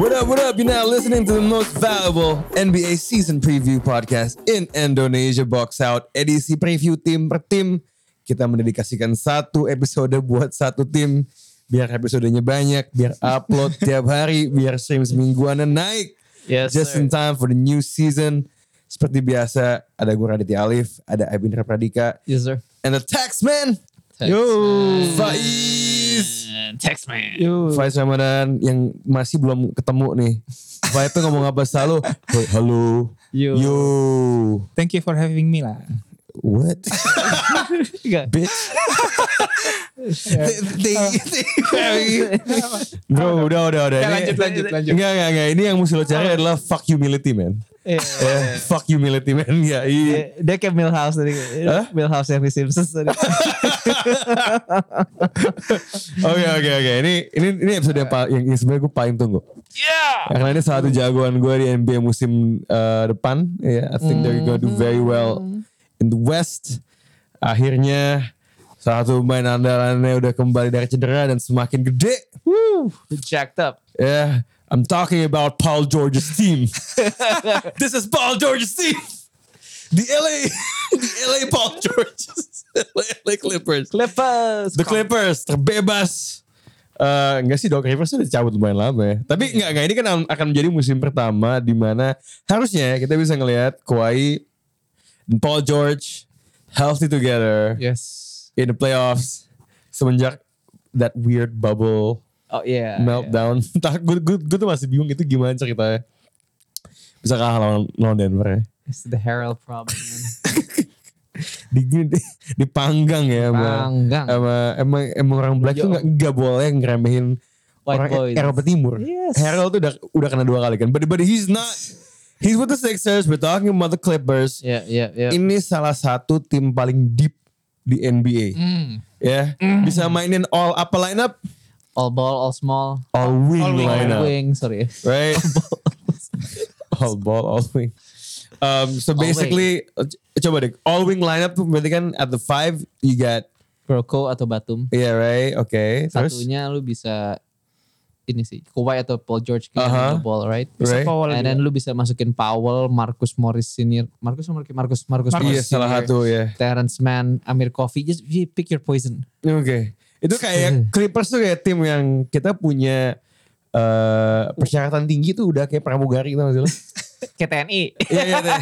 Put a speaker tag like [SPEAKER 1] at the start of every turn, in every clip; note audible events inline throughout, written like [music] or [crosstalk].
[SPEAKER 1] What up, what up? You're now listening to the most valuable NBA season preview podcast in Indonesia Box Out. Edisi preview tim per tim. Kita mendedikasikan satu episode buat satu tim. Biar episodenya banyak, biar upload tiap hari, biar stream semingguanan naik.
[SPEAKER 2] Yes,
[SPEAKER 1] Just in time for the new season. Seperti biasa, ada gue Raditya Alif, ada Abindra Pradika,
[SPEAKER 2] Yes, sir. Uh,
[SPEAKER 1] and the Taxman,
[SPEAKER 2] Yo.
[SPEAKER 1] Faiz.
[SPEAKER 2] Text man. [laughs]
[SPEAKER 1] Faiz Ramadan yang masih belum ketemu nih. Faiz tuh ngomong apa selalu? "Hey, Halo.
[SPEAKER 2] Yo.
[SPEAKER 1] Yo.
[SPEAKER 3] Thank you for having me lah.
[SPEAKER 1] What? [laughs]
[SPEAKER 2] Enggak.
[SPEAKER 1] Bitch. They- they- they- Bro, udah, udah, udah.
[SPEAKER 3] Ya,
[SPEAKER 1] Ini-
[SPEAKER 3] lanjut, lanjut, lanjut.
[SPEAKER 1] Enggak, enggak, enggak. Ini yang mesti lo cari adalah fuck humility, man.
[SPEAKER 2] Eh,
[SPEAKER 1] Eh, fuck humility, man. Ya, iya.
[SPEAKER 2] eh, Dia kayak Milhouse tadi.
[SPEAKER 1] Hah?
[SPEAKER 2] Milhouse yang di Simpsons [laughs] tadi.
[SPEAKER 1] Oke, oke, oke. Ini, ini, ini episode yang, pa- yang, yang sebenarnya gue paling tunggu. Karena ini salah satu jagoan gue di NBA musim eh, depan. Ya, I think they're gonna do very well in the West. Akhirnya salah satu pemain andalannya udah kembali dari cedera dan semakin gede. Woo.
[SPEAKER 2] Jacked [laughs] up.
[SPEAKER 1] Ya, I'm talking about Paul George's team. [laughs] This is Paul George's team. The [laughs] LA, the LA Paul George's [laughs] LA Clippers.
[SPEAKER 2] Clippers.
[SPEAKER 1] The Clippers terbebas. Eh, enggak sih Doc Rivers udah cabut lumayan lama ya. Tapi enggak enggak ini kan akan menjadi musim pertama di mana harusnya kita bisa ngelihat Kawhi dan Paul George healthy together
[SPEAKER 2] Iya.
[SPEAKER 3] Yes.
[SPEAKER 1] in the playoffs semenjak that weird bubble
[SPEAKER 2] Oh yeah.
[SPEAKER 1] meltdown. [laughs] Entah gue, gue, gue tuh masih bingung itu gimana ceritanya. Bisa kalah lawan, lawan Denver ya.
[SPEAKER 2] It's the Herald problem. [laughs]
[SPEAKER 1] Di, di, dipanggang ya. sama-
[SPEAKER 2] Panggang.
[SPEAKER 1] Sama, emang, emang orang black tuh gak, nggak boleh ngeremehin
[SPEAKER 2] White
[SPEAKER 1] orang
[SPEAKER 2] boys.
[SPEAKER 1] Eropa Timur.
[SPEAKER 2] Yes.
[SPEAKER 1] Harold tuh udah, udah kena dua kali kan. But, but he's not. He's with the Sixers. We're talking about the Clippers.
[SPEAKER 2] Yeah, yeah, yeah.
[SPEAKER 1] Ini salah satu tim paling deep di NBA.
[SPEAKER 3] Hmm.
[SPEAKER 1] Ya. Bisa mainin all apa lineup?
[SPEAKER 2] All ball, all small.
[SPEAKER 1] All wing
[SPEAKER 3] all wing.
[SPEAKER 1] lineup.
[SPEAKER 2] Wing, sorry.
[SPEAKER 1] right? [laughs] all ball, all wing. Um, so basically, co- coba deh, all wing lineup tuh berarti kan at the five you got,
[SPEAKER 2] Broko atau Batum.
[SPEAKER 1] yeah right, okay. Terus,
[SPEAKER 2] Satunya lu bisa ini sih Kawhi atau Paul George kan
[SPEAKER 1] Aha.
[SPEAKER 2] the ball right.
[SPEAKER 1] Right.
[SPEAKER 3] Powell
[SPEAKER 2] And then Eh, lu bisa masukin Powell, Marcus Morris senior, Marcus Morris, Marcus Marcus,
[SPEAKER 3] Marcus.
[SPEAKER 1] iya
[SPEAKER 2] Morris
[SPEAKER 1] salah
[SPEAKER 2] Senior,
[SPEAKER 1] satu ya.
[SPEAKER 2] Terrence Mann, Amir Coffee, just you pick your poison.
[SPEAKER 1] Oke, itu [laughs] kayak Clippers tuh kayak tim yang kita punya eh persyaratan tinggi tuh udah kayak pramugari tau gak sih lo?
[SPEAKER 2] KTNI.
[SPEAKER 1] [laughs] Iya iya. iya.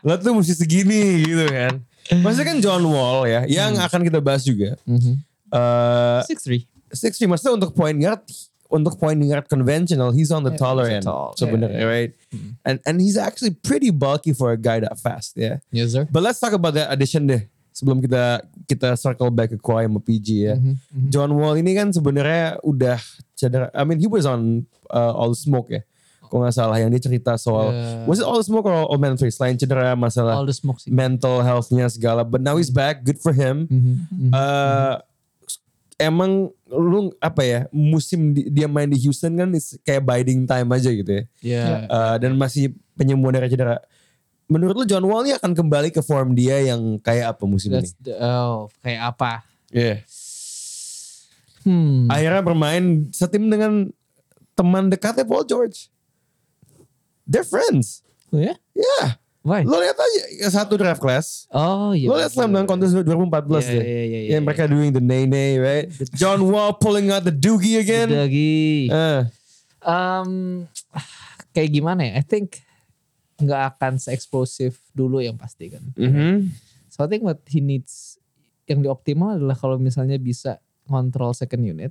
[SPEAKER 1] Lo tuh mesti segini gitu kan. Maksudnya kan John Wall ya, yang akan kita bahas juga.
[SPEAKER 2] Mm-hmm.
[SPEAKER 1] Eh
[SPEAKER 2] Uh, Six three.
[SPEAKER 1] six three maksudnya untuk point guard untuk point guard conventional he's on the taller
[SPEAKER 2] he's
[SPEAKER 1] end
[SPEAKER 2] tall,
[SPEAKER 1] sebenarnya right and and he's actually pretty bulky for a guy that fast yeah
[SPEAKER 2] Yes sir.
[SPEAKER 1] but let's talk about that addition deh sebelum kita kita circle back ke Kawhi sama PG ya
[SPEAKER 2] Mm-hmm.
[SPEAKER 1] John Wall ini kan sebenarnya udah cedera I mean he was on uh, all smoke ya kalau nggak salah yang dia cerita soal
[SPEAKER 2] Yeah.
[SPEAKER 1] was it all smoke or all, all man three selain cedera masalah
[SPEAKER 2] All the smoke sih.
[SPEAKER 1] mental healthnya segala but now he's back good for him
[SPEAKER 2] Mm-hmm.
[SPEAKER 1] Eh, emang lu apa ya musim di- dia main di Houston kan is kayak biding time aja gitu ya
[SPEAKER 2] Yeah.
[SPEAKER 1] Eh, dan masih penyembuhan dari cedera menurut lu John Wall ini akan kembali ke form dia yang kayak apa musim
[SPEAKER 2] That's
[SPEAKER 1] ini
[SPEAKER 2] the, oh kayak apa?
[SPEAKER 1] Iya.
[SPEAKER 2] Hmm.
[SPEAKER 1] akhirnya bermain setim dengan teman dekatnya Paul George they're friends
[SPEAKER 2] Oh, ya?
[SPEAKER 1] yeah
[SPEAKER 2] Why?
[SPEAKER 1] lo lihat aja satu draft class
[SPEAKER 2] Oh iya.
[SPEAKER 1] Lo lihat Slam Dunk Contest 2014
[SPEAKER 2] Iya,
[SPEAKER 1] deh.
[SPEAKER 2] iya, iya, iya,
[SPEAKER 1] Yang mereka doing the nay nay right. John Wall pulling out the doogie again.
[SPEAKER 2] Lagi.
[SPEAKER 1] Eh,
[SPEAKER 2] um, [sighs] kayak gimana ya? I think nggak akan se-eksplosif dulu yang pasti kan.
[SPEAKER 1] mhm.
[SPEAKER 2] So I think what he needs yang dioptimal adalah kalau misalnya bisa kontrol second unit,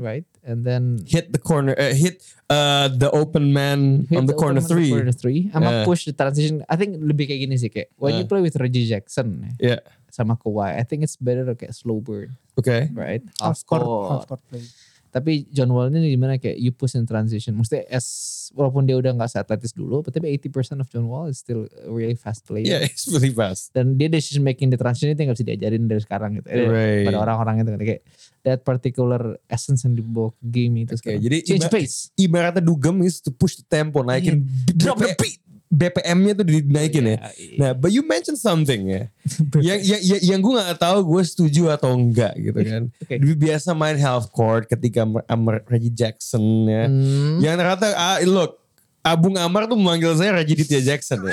[SPEAKER 2] right? And then
[SPEAKER 1] Hit the corner, eh, hit uh, the open man
[SPEAKER 2] hit
[SPEAKER 1] on the, corner
[SPEAKER 2] open man on
[SPEAKER 1] three.
[SPEAKER 2] the corner three, sama
[SPEAKER 1] Yeah.
[SPEAKER 2] push the transition. I think lebih kayak gini sih kayak when you play with Reggie Jackson ya,
[SPEAKER 1] Yeah.
[SPEAKER 2] sama Kawhi, I think it's better kayak slow burn,
[SPEAKER 1] Okay.
[SPEAKER 2] right?
[SPEAKER 3] Half court, half court play.
[SPEAKER 2] Tapi John Wall ini gimana kayak you push in transition. Maksudnya as walaupun dia udah nggak seatletis dulu, tapi 80% of John Wall is still a really fast player.
[SPEAKER 1] Yeah, [laughs] it's really fast.
[SPEAKER 2] Dan dia decision making di transition itu nggak bisa diajarin dari sekarang gitu.
[SPEAKER 1] Right.
[SPEAKER 2] Pada orang-orang itu kan kayak that particular essence yang dibawa ke game itu.
[SPEAKER 1] Oke,
[SPEAKER 2] sekarang.
[SPEAKER 1] jadi
[SPEAKER 2] change
[SPEAKER 1] iba-
[SPEAKER 2] pace.
[SPEAKER 1] Ibaratnya dugem is to push the tempo, naikin
[SPEAKER 2] Drop the beat.
[SPEAKER 1] BPM-nya tuh dinaikin ya.
[SPEAKER 2] Iya, iya.
[SPEAKER 1] Nah, but you mentioned something ya. yang yang yang, yang gue nggak tahu gue setuju atau enggak gitu kan.
[SPEAKER 2] Oke.
[SPEAKER 1] Dulu Biasa main half court ketika Am- Am- Reggie Jackson ya.
[SPEAKER 2] Hmm.
[SPEAKER 1] Yang ternyata ah, look Abung Amar tuh memanggil saya Reggie Ditya Jackson
[SPEAKER 2] [laughs]
[SPEAKER 1] ya.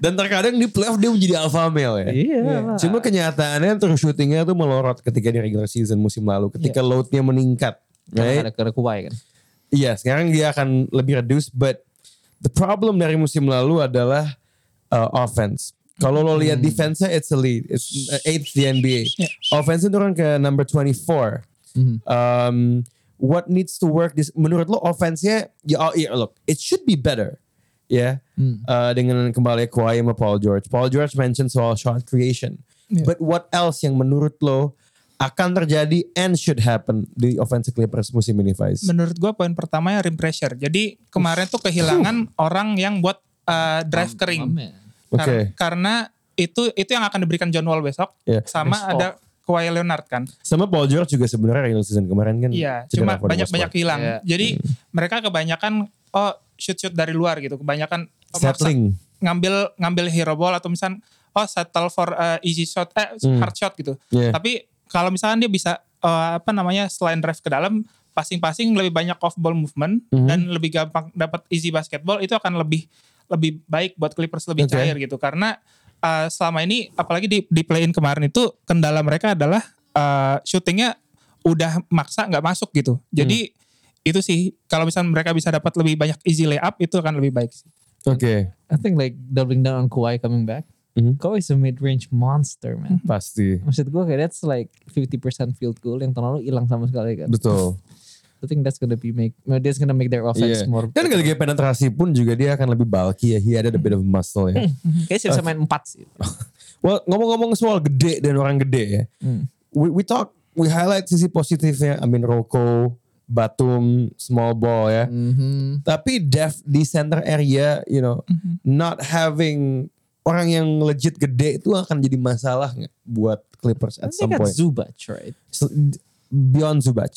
[SPEAKER 1] Dan terkadang di playoff dia menjadi alpha male ya.
[SPEAKER 2] Iya. lah.
[SPEAKER 1] Cuma kenyataannya terus syutingnya tuh melorot ketika di regular season musim lalu. Ketika loadnya meningkat.
[SPEAKER 2] Iya. Karena
[SPEAKER 1] Right?
[SPEAKER 2] ada karena Kawhi kan.
[SPEAKER 1] Iya, sekarang dia akan lebih reduce, but the problem dari musim lalu adalah uh, offense. Kalau lo lihat defense-nya, it's a lead. It's uh, eighth di NBA. Offense-nya turun ke number 24. Um, what needs to work? This, menurut lo offense-nya, ya, oh, iya, look, it should be better. Ya, Uh, dengan kembali Kawhi sama Paul George. Paul George mention soal shot creation. But what else yang menurut lo akan terjadi and should happen di offensive Clippers musim ini, Faiz?
[SPEAKER 3] Menurut gua poin pertamanya rim pressure. Jadi kemarin tuh kehilangan orang yang buat uh, drive kering.
[SPEAKER 2] Amin.
[SPEAKER 1] Oke.
[SPEAKER 3] Kar- karena itu itu yang akan diberikan John Wall besok.
[SPEAKER 1] Iya.
[SPEAKER 3] Sama
[SPEAKER 2] Chris Paul.
[SPEAKER 3] ada Kawhi Leonard kan.
[SPEAKER 1] Sama Paul George juga sebenarnya regular season kemarin kan.
[SPEAKER 3] Iya,
[SPEAKER 1] cedera
[SPEAKER 3] cuma
[SPEAKER 1] for the most
[SPEAKER 3] banyak-banyak
[SPEAKER 1] part.
[SPEAKER 3] hilang.
[SPEAKER 2] Iya.
[SPEAKER 3] Jadi mereka kebanyakan oh shoot-shoot dari luar gitu. Kebanyakan oh, maksa-
[SPEAKER 1] Settling.
[SPEAKER 3] ngambil ngambil hero ball atau misal oh settle for uh, easy shot eh hard shot gitu.
[SPEAKER 1] Iya.
[SPEAKER 3] Tapi kalau misalkan dia bisa uh, apa namanya selain drive ke dalam passing-passing lebih banyak off ball movement dan lebih gampang dapat easy basketball itu akan lebih lebih baik buat Clippers lebih
[SPEAKER 1] Oke.
[SPEAKER 3] cair gitu karena uh, selama ini apalagi di di play-in kemarin itu kendala mereka adalah uh, shootingnya udah maksa nggak masuk gitu. Jadi itu sih kalau misalnya mereka bisa dapat lebih banyak easy layup itu akan lebih baik sih.
[SPEAKER 1] Oke.
[SPEAKER 2] I think like doubling down on Kawhi coming back.
[SPEAKER 1] Mhm.
[SPEAKER 2] Kawhi is a mid-range monster man.
[SPEAKER 1] Pasti.
[SPEAKER 2] Maksud gue kayak that's like 50% field goal yang tahun lalu hilang sama sekali kan.
[SPEAKER 1] Betul.
[SPEAKER 2] I think that's gonna be make, no, that's gonna make their offense
[SPEAKER 1] Iya.
[SPEAKER 2] more.
[SPEAKER 1] Dan ketika penetrasi pun juga dia akan lebih bulky ya. He added a bit of muscle ya.
[SPEAKER 3] Hmm.
[SPEAKER 2] Kayaknya sih bisa Hmm, main 4 sih.
[SPEAKER 1] Well, ngomong-ngomong soal gede dan orang gede ya.
[SPEAKER 3] Hmm.
[SPEAKER 1] We, we talk, we highlight sisi positifnya. I mean Roko, Batum, small ball ya.
[SPEAKER 3] Hmm.
[SPEAKER 1] Tapi depth di center area, you know,
[SPEAKER 3] Hmm.
[SPEAKER 1] not having orang yang legit gede itu akan jadi masalah nggak buat Clippers at
[SPEAKER 2] They
[SPEAKER 1] some
[SPEAKER 2] got
[SPEAKER 1] point.
[SPEAKER 2] Zubac right.
[SPEAKER 1] So, beyond Zubac.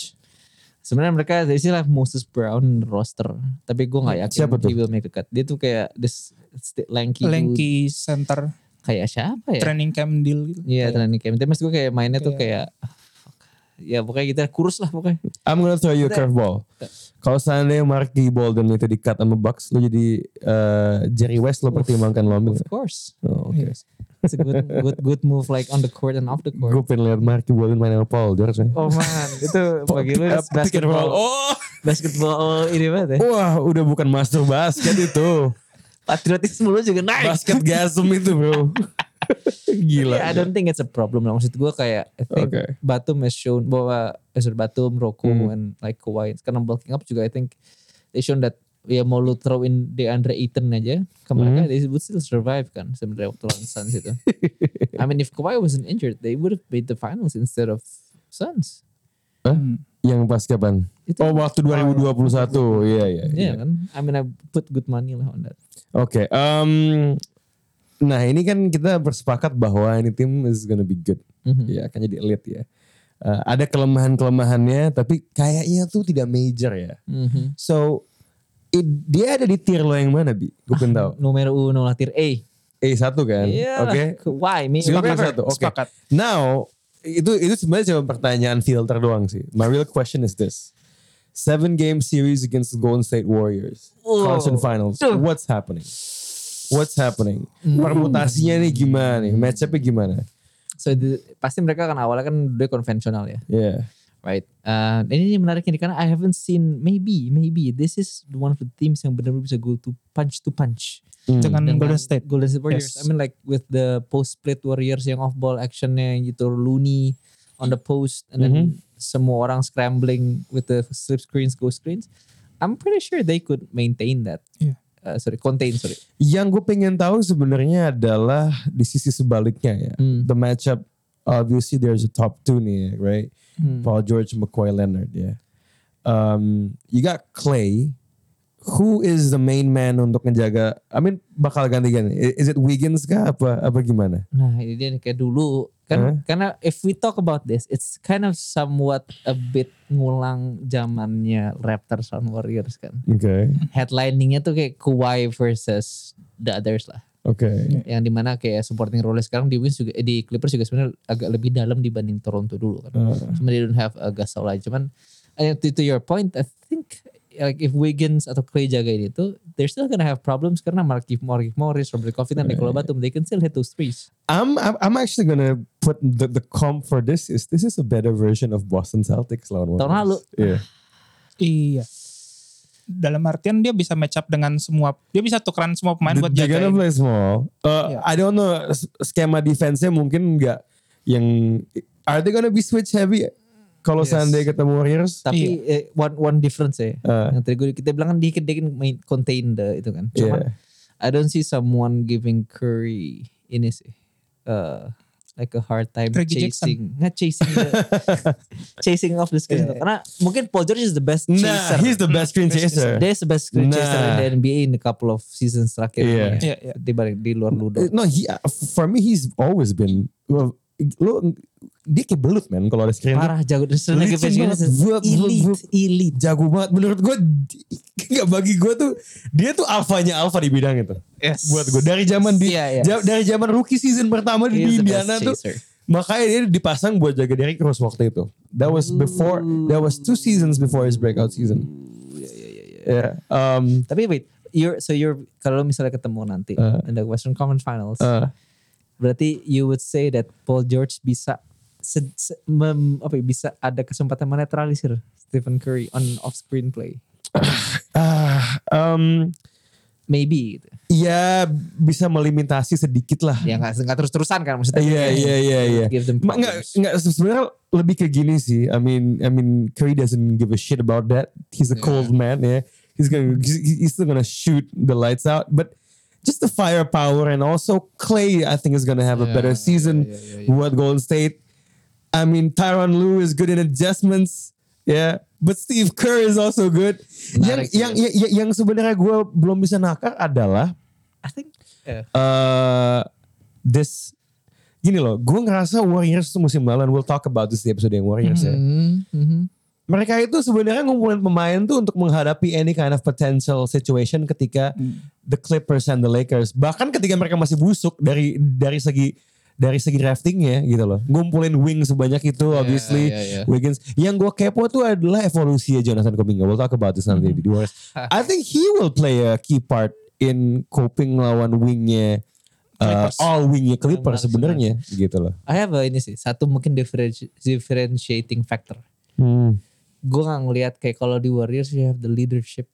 [SPEAKER 2] Sebenarnya mereka dari sini lah Moses Brown roster. Tapi gue nggak yakin
[SPEAKER 1] Siapa tuh?
[SPEAKER 2] he will make a cut. Dia Iya, tuh kayak this sti- lanky, dude.
[SPEAKER 3] Lanky center
[SPEAKER 2] kayak siapa ya?
[SPEAKER 3] training camp deal gitu.
[SPEAKER 2] Iya
[SPEAKER 3] Kayak-
[SPEAKER 2] training camp. Tapi maksud gue kayak mainnya tuh kayak fuck. ya pokoknya kita kurus lah pokoknya.
[SPEAKER 1] I'm gonna throw you a curveball. Kalau seandainya Marky Bolden itu di cut sama Bucks, lo jadi eh, Jerry West lo pertimbangkan lo ambil.
[SPEAKER 2] Of course.
[SPEAKER 1] Oh,
[SPEAKER 2] Iya.
[SPEAKER 1] Oke.
[SPEAKER 2] It's a good good good move like on the court and off the
[SPEAKER 1] Gue
[SPEAKER 2] court.
[SPEAKER 1] pengen lihat Marky Bolden main sama Paul George. ya.
[SPEAKER 2] Oh man, itu bagi lu
[SPEAKER 1] Pick- pick and roll.
[SPEAKER 2] basketball,
[SPEAKER 1] Oh,
[SPEAKER 2] basketball ini banget ya.
[SPEAKER 1] wah udah bukan master basket
[SPEAKER 2] [laughs]
[SPEAKER 1] itu.
[SPEAKER 2] Patriotisme lu juga naik.
[SPEAKER 1] basket gasm itu
[SPEAKER 2] [laughs]
[SPEAKER 1] bro. Gila.
[SPEAKER 2] Yeah, I don't think it's a problem. lah. Maksud gue kayak I think
[SPEAKER 1] Okay. Hmm.
[SPEAKER 2] Batum has shown bahwa Ezra Batum, Roku, and like Kawhi. Karena bulking up juga I think they shown that ya mau lu throw in DeAndre Ayton aja ke
[SPEAKER 1] Hmm.
[SPEAKER 2] mereka they would still survive kan sebenarnya waktu lawan Suns
[SPEAKER 1] [laughs]
[SPEAKER 2] itu. I mean if Kawhi wasn't injured they would have made the finals instead of Suns.
[SPEAKER 1] Hah? Yang pas kapan?
[SPEAKER 2] Itu-
[SPEAKER 1] Oh waktu 2021. Iya iya.
[SPEAKER 2] Iya
[SPEAKER 1] iya.
[SPEAKER 2] kan? I mean I put good money lah on that.
[SPEAKER 1] Oke. em, nah ini kan kita bersepakat bahwa ini tim is gonna be good. Ya akan jadi elite ya. Eh, ada kelemahan-kelemahannya tapi kayaknya tuh tidak major ya.
[SPEAKER 2] Mhm.
[SPEAKER 1] So it- dia ada di tier lo yang mana bi? Gue
[SPEAKER 2] [laughs]
[SPEAKER 1] pengen tahu.
[SPEAKER 2] Nomor uno lah tier A.
[SPEAKER 1] E1 kan?
[SPEAKER 2] Iya.
[SPEAKER 1] Oke.
[SPEAKER 2] Kawhi, me.
[SPEAKER 1] Silver
[SPEAKER 3] Sepakat.
[SPEAKER 1] satu, Oke.
[SPEAKER 3] Sepakat.
[SPEAKER 1] Now itu itu sebenarnya cuma pertanyaan filter doang sih. My real question is this: seven game series against the Golden State Warriors, Carson Finals.
[SPEAKER 2] Duh.
[SPEAKER 1] What's happening? What's happening? Permutasinya nih gimana nih? Matchupnya gimana?
[SPEAKER 2] So the- pasti mereka kan awalnya kan udah konvensional ya.
[SPEAKER 1] Yeah.
[SPEAKER 2] Right. Uh, dan ini menarik ini karena I haven't seen maybe maybe this is one of the teams yang benar-benar bisa go to punch to punch.
[SPEAKER 3] Dengan Golden State.
[SPEAKER 2] Golden State Warriors.
[SPEAKER 3] Yes.
[SPEAKER 2] I mean like with the post split Warriors yang off ball actionnya yang gitu Looney on the post and then
[SPEAKER 3] Mm-hmm.
[SPEAKER 2] semua orang scrambling with the slip screens go screens. I'm pretty sure they could maintain that.
[SPEAKER 3] Iya.
[SPEAKER 2] Uh, sorry, contain sorry.
[SPEAKER 1] Yang gue pengen tahu sebenarnya adalah di sisi sebaliknya ya.
[SPEAKER 2] Hmm.
[SPEAKER 1] The matchup obviously there's a top two nih, right?
[SPEAKER 2] Hmm.
[SPEAKER 1] Paul George, McCoy Leonard, ya. Um, you got Clay. Who is the main man untuk ngejaga? I mean bakal ganti-ganti. I- Is it Wiggins kah apa apa gimana?
[SPEAKER 2] Nah ini dia nih, kayak dulu Kan,
[SPEAKER 1] Huh?
[SPEAKER 2] Karena if we talk about this, it's kind of somewhat a bit ngulang zamannya Raptors on Warriors kan.
[SPEAKER 1] Oke.
[SPEAKER 2] Headliningnya tuh kayak Kawhi versus the others lah.
[SPEAKER 1] Oke.
[SPEAKER 2] Yang dimana kayak supporting role sekarang di Wings juga, eh, di Clippers juga sebenarnya agak lebih dalam dibanding Toronto dulu kan.
[SPEAKER 1] Uh,
[SPEAKER 2] Cuma they don't have a Gasol aja. Cuman eh, to, to your point, I think like if Wiggins atau Clay jagain itu, they're still gonna have problems karena Markif Morris, Morris, Robert Covington, dan Nikola Batum, they can still hit those threes.
[SPEAKER 1] I'm, I'm I'm actually gonna put the the comp for this is this is a better version of Boston Celtics lawan Warriors.
[SPEAKER 2] Tahun lalu.
[SPEAKER 1] Iya.
[SPEAKER 3] Iya. Dalam artian dia bisa match up dengan semua, dia bisa tukeran semua pemain buat
[SPEAKER 1] They're gonna
[SPEAKER 3] jagain. Iya.
[SPEAKER 1] play small. Uh,
[SPEAKER 3] Yeah.
[SPEAKER 1] I don't know s- skema defense-nya mungkin nggak yang are they gonna be switch heavy kalau
[SPEAKER 2] Yes.
[SPEAKER 1] seandainya ketemu Warriors?
[SPEAKER 2] Tapi
[SPEAKER 1] Iya.
[SPEAKER 2] eh, one one difference ya.
[SPEAKER 1] Uh,
[SPEAKER 2] Yang tadi gue kita bilang kan dikit dikit main contain the itu
[SPEAKER 1] Iya.
[SPEAKER 2] kan. Cuman I don't see someone giving Curry ini sih. Uh, like a hard time
[SPEAKER 3] Reggie
[SPEAKER 2] chasing, nggak chasing,
[SPEAKER 1] [laughs]
[SPEAKER 2] the, chasing off the screen.
[SPEAKER 3] Yeah.
[SPEAKER 2] Karena mungkin Paul George is the best
[SPEAKER 1] Iya. nah,
[SPEAKER 2] chaser.
[SPEAKER 1] he's the best screen
[SPEAKER 3] Best
[SPEAKER 1] chaser.
[SPEAKER 2] There's the best screen chaser in
[SPEAKER 1] Nah.
[SPEAKER 2] the NBA in a couple of seasons
[SPEAKER 1] Iya.
[SPEAKER 2] terakhir. ini ya.
[SPEAKER 3] Iya, iya.
[SPEAKER 2] Di balik di luar Ludo.
[SPEAKER 1] Uh, No, he for me he's always been well, lo dia kayak belut man kalau ada screen
[SPEAKER 2] Parah jago dan sering lagi
[SPEAKER 1] Licin Iya. banget. Vup, vup, vup.
[SPEAKER 2] elite, elite.
[SPEAKER 1] jago banget menurut gue [laughs] nggak bagi gue tuh dia tuh alfanya alfa di bidang itu
[SPEAKER 3] Yes.
[SPEAKER 1] buat gue dari zaman di
[SPEAKER 2] Iya, iya.
[SPEAKER 1] ja- dari zaman rookie season pertama
[SPEAKER 2] He
[SPEAKER 1] di
[SPEAKER 2] is the best
[SPEAKER 1] Indiana tuh
[SPEAKER 2] chaser.
[SPEAKER 1] makanya dia dipasang buat jaga Derrick Rose waktu itu that was before that was two seasons before his breakout season
[SPEAKER 2] Iya, iya, iya, iya.
[SPEAKER 1] yeah um
[SPEAKER 2] Tapi wait, you're so you're kalau misalnya ketemu nanti
[SPEAKER 1] Eh.
[SPEAKER 2] in the Western Conference Finals,
[SPEAKER 1] uh,
[SPEAKER 2] berarti you would say that Paul George bisa se- se- mem- apa ya, bisa ada kesempatan menetralisir Stephen Curry on off screen play.
[SPEAKER 1] ah, um
[SPEAKER 2] Maybe gitu.
[SPEAKER 1] ya bisa melimitasi sedikit lah
[SPEAKER 2] Ya nggak nggak terus-terusan kan maksudnya. uh,
[SPEAKER 1] Iya iya iya iya.
[SPEAKER 2] Give them
[SPEAKER 1] Ma- Nggak
[SPEAKER 2] problems.
[SPEAKER 1] nggak sebenarnya lebih ke gini sih. I mean I mean Curry doesn't give a shit about that. He's a cold man ya. He's gonna he's he's still gonna shoot the lights out. But just the firepower and also Clay I think is gonna have a better season with Golden State. I mean Tyron Lue is good in adjustments. Yeah. But Steve Kerr is also good.
[SPEAKER 2] Menarik sih.
[SPEAKER 1] yang, yang yang yang sebenarnya gue belum bisa nakar adalah
[SPEAKER 2] I think eh,
[SPEAKER 1] eh this gini loh, gue ngerasa Warriors tuh musim lalu, and we'll talk about this di episode yang Warriors ya.
[SPEAKER 2] hmm,
[SPEAKER 1] Mereka itu sebenarnya ngumpulin pemain tuh untuk menghadapi any kind of potential situation ketika
[SPEAKER 2] Hmm.
[SPEAKER 1] the Clippers and the Lakers, bahkan ketika mereka masih busuk dari dari segi dari segi draftingnya gitu loh, ngumpulin wing sebanyak itu, obviously
[SPEAKER 2] yeah, yeah.
[SPEAKER 1] Wiggins. Yang gue kepo tuh adalah evolusi Jonathan Kuminga. We'll talk about this nanti
[SPEAKER 2] Hmm.
[SPEAKER 1] di Warriors.
[SPEAKER 2] [laughs]
[SPEAKER 1] I think he will play a key part in coping lawan wingnya uh,
[SPEAKER 3] Clippers.
[SPEAKER 1] all wingnya Clippers
[SPEAKER 2] Benar,
[SPEAKER 1] sebenarnya gitu loh.
[SPEAKER 2] I have a ini sih satu mungkin differenti- differentiating factor.
[SPEAKER 1] Hmm.
[SPEAKER 2] Gue nggak ngelihat kayak kalau di Warriors you have the leadership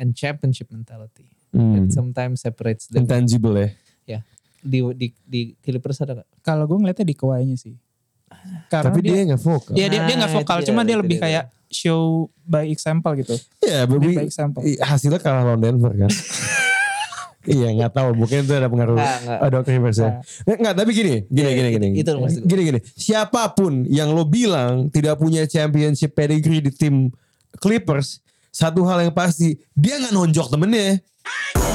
[SPEAKER 2] and championship mentality
[SPEAKER 1] Hmm.
[SPEAKER 2] that sometimes separates them.
[SPEAKER 1] Intangible ya.
[SPEAKER 2] Ya di di di Clippers ada gak?
[SPEAKER 3] Kalau gue ngeliatnya di Kawhi-nya sih. Karena
[SPEAKER 1] Tapi
[SPEAKER 3] dia, ya,
[SPEAKER 1] dia nggak vokal.
[SPEAKER 3] dia, dia, dia
[SPEAKER 2] Nah,
[SPEAKER 3] gak
[SPEAKER 2] itu
[SPEAKER 3] vokal,
[SPEAKER 2] dia,
[SPEAKER 3] cuma dia
[SPEAKER 2] itu
[SPEAKER 3] lebih
[SPEAKER 2] dia.
[SPEAKER 3] kayak show by example gitu.
[SPEAKER 1] Ya, but
[SPEAKER 3] Lebih
[SPEAKER 1] we-
[SPEAKER 3] baik sampel.
[SPEAKER 1] i- hasilnya kalah lawan Denver
[SPEAKER 2] [laughs]
[SPEAKER 1] kan. iya nggak tahu mungkin itu ada pengaruh
[SPEAKER 2] Nggak, nggak.
[SPEAKER 1] ada Clippers ya. Nggak, nggak, tapi gini gini
[SPEAKER 2] Iya,
[SPEAKER 1] gini
[SPEAKER 2] itu-
[SPEAKER 1] gini
[SPEAKER 2] itu loh maksud gue.
[SPEAKER 1] gini gini siapapun yang lo bilang tidak punya championship pedigree di tim Clippers satu hal yang pasti dia nggak nonjok temennya.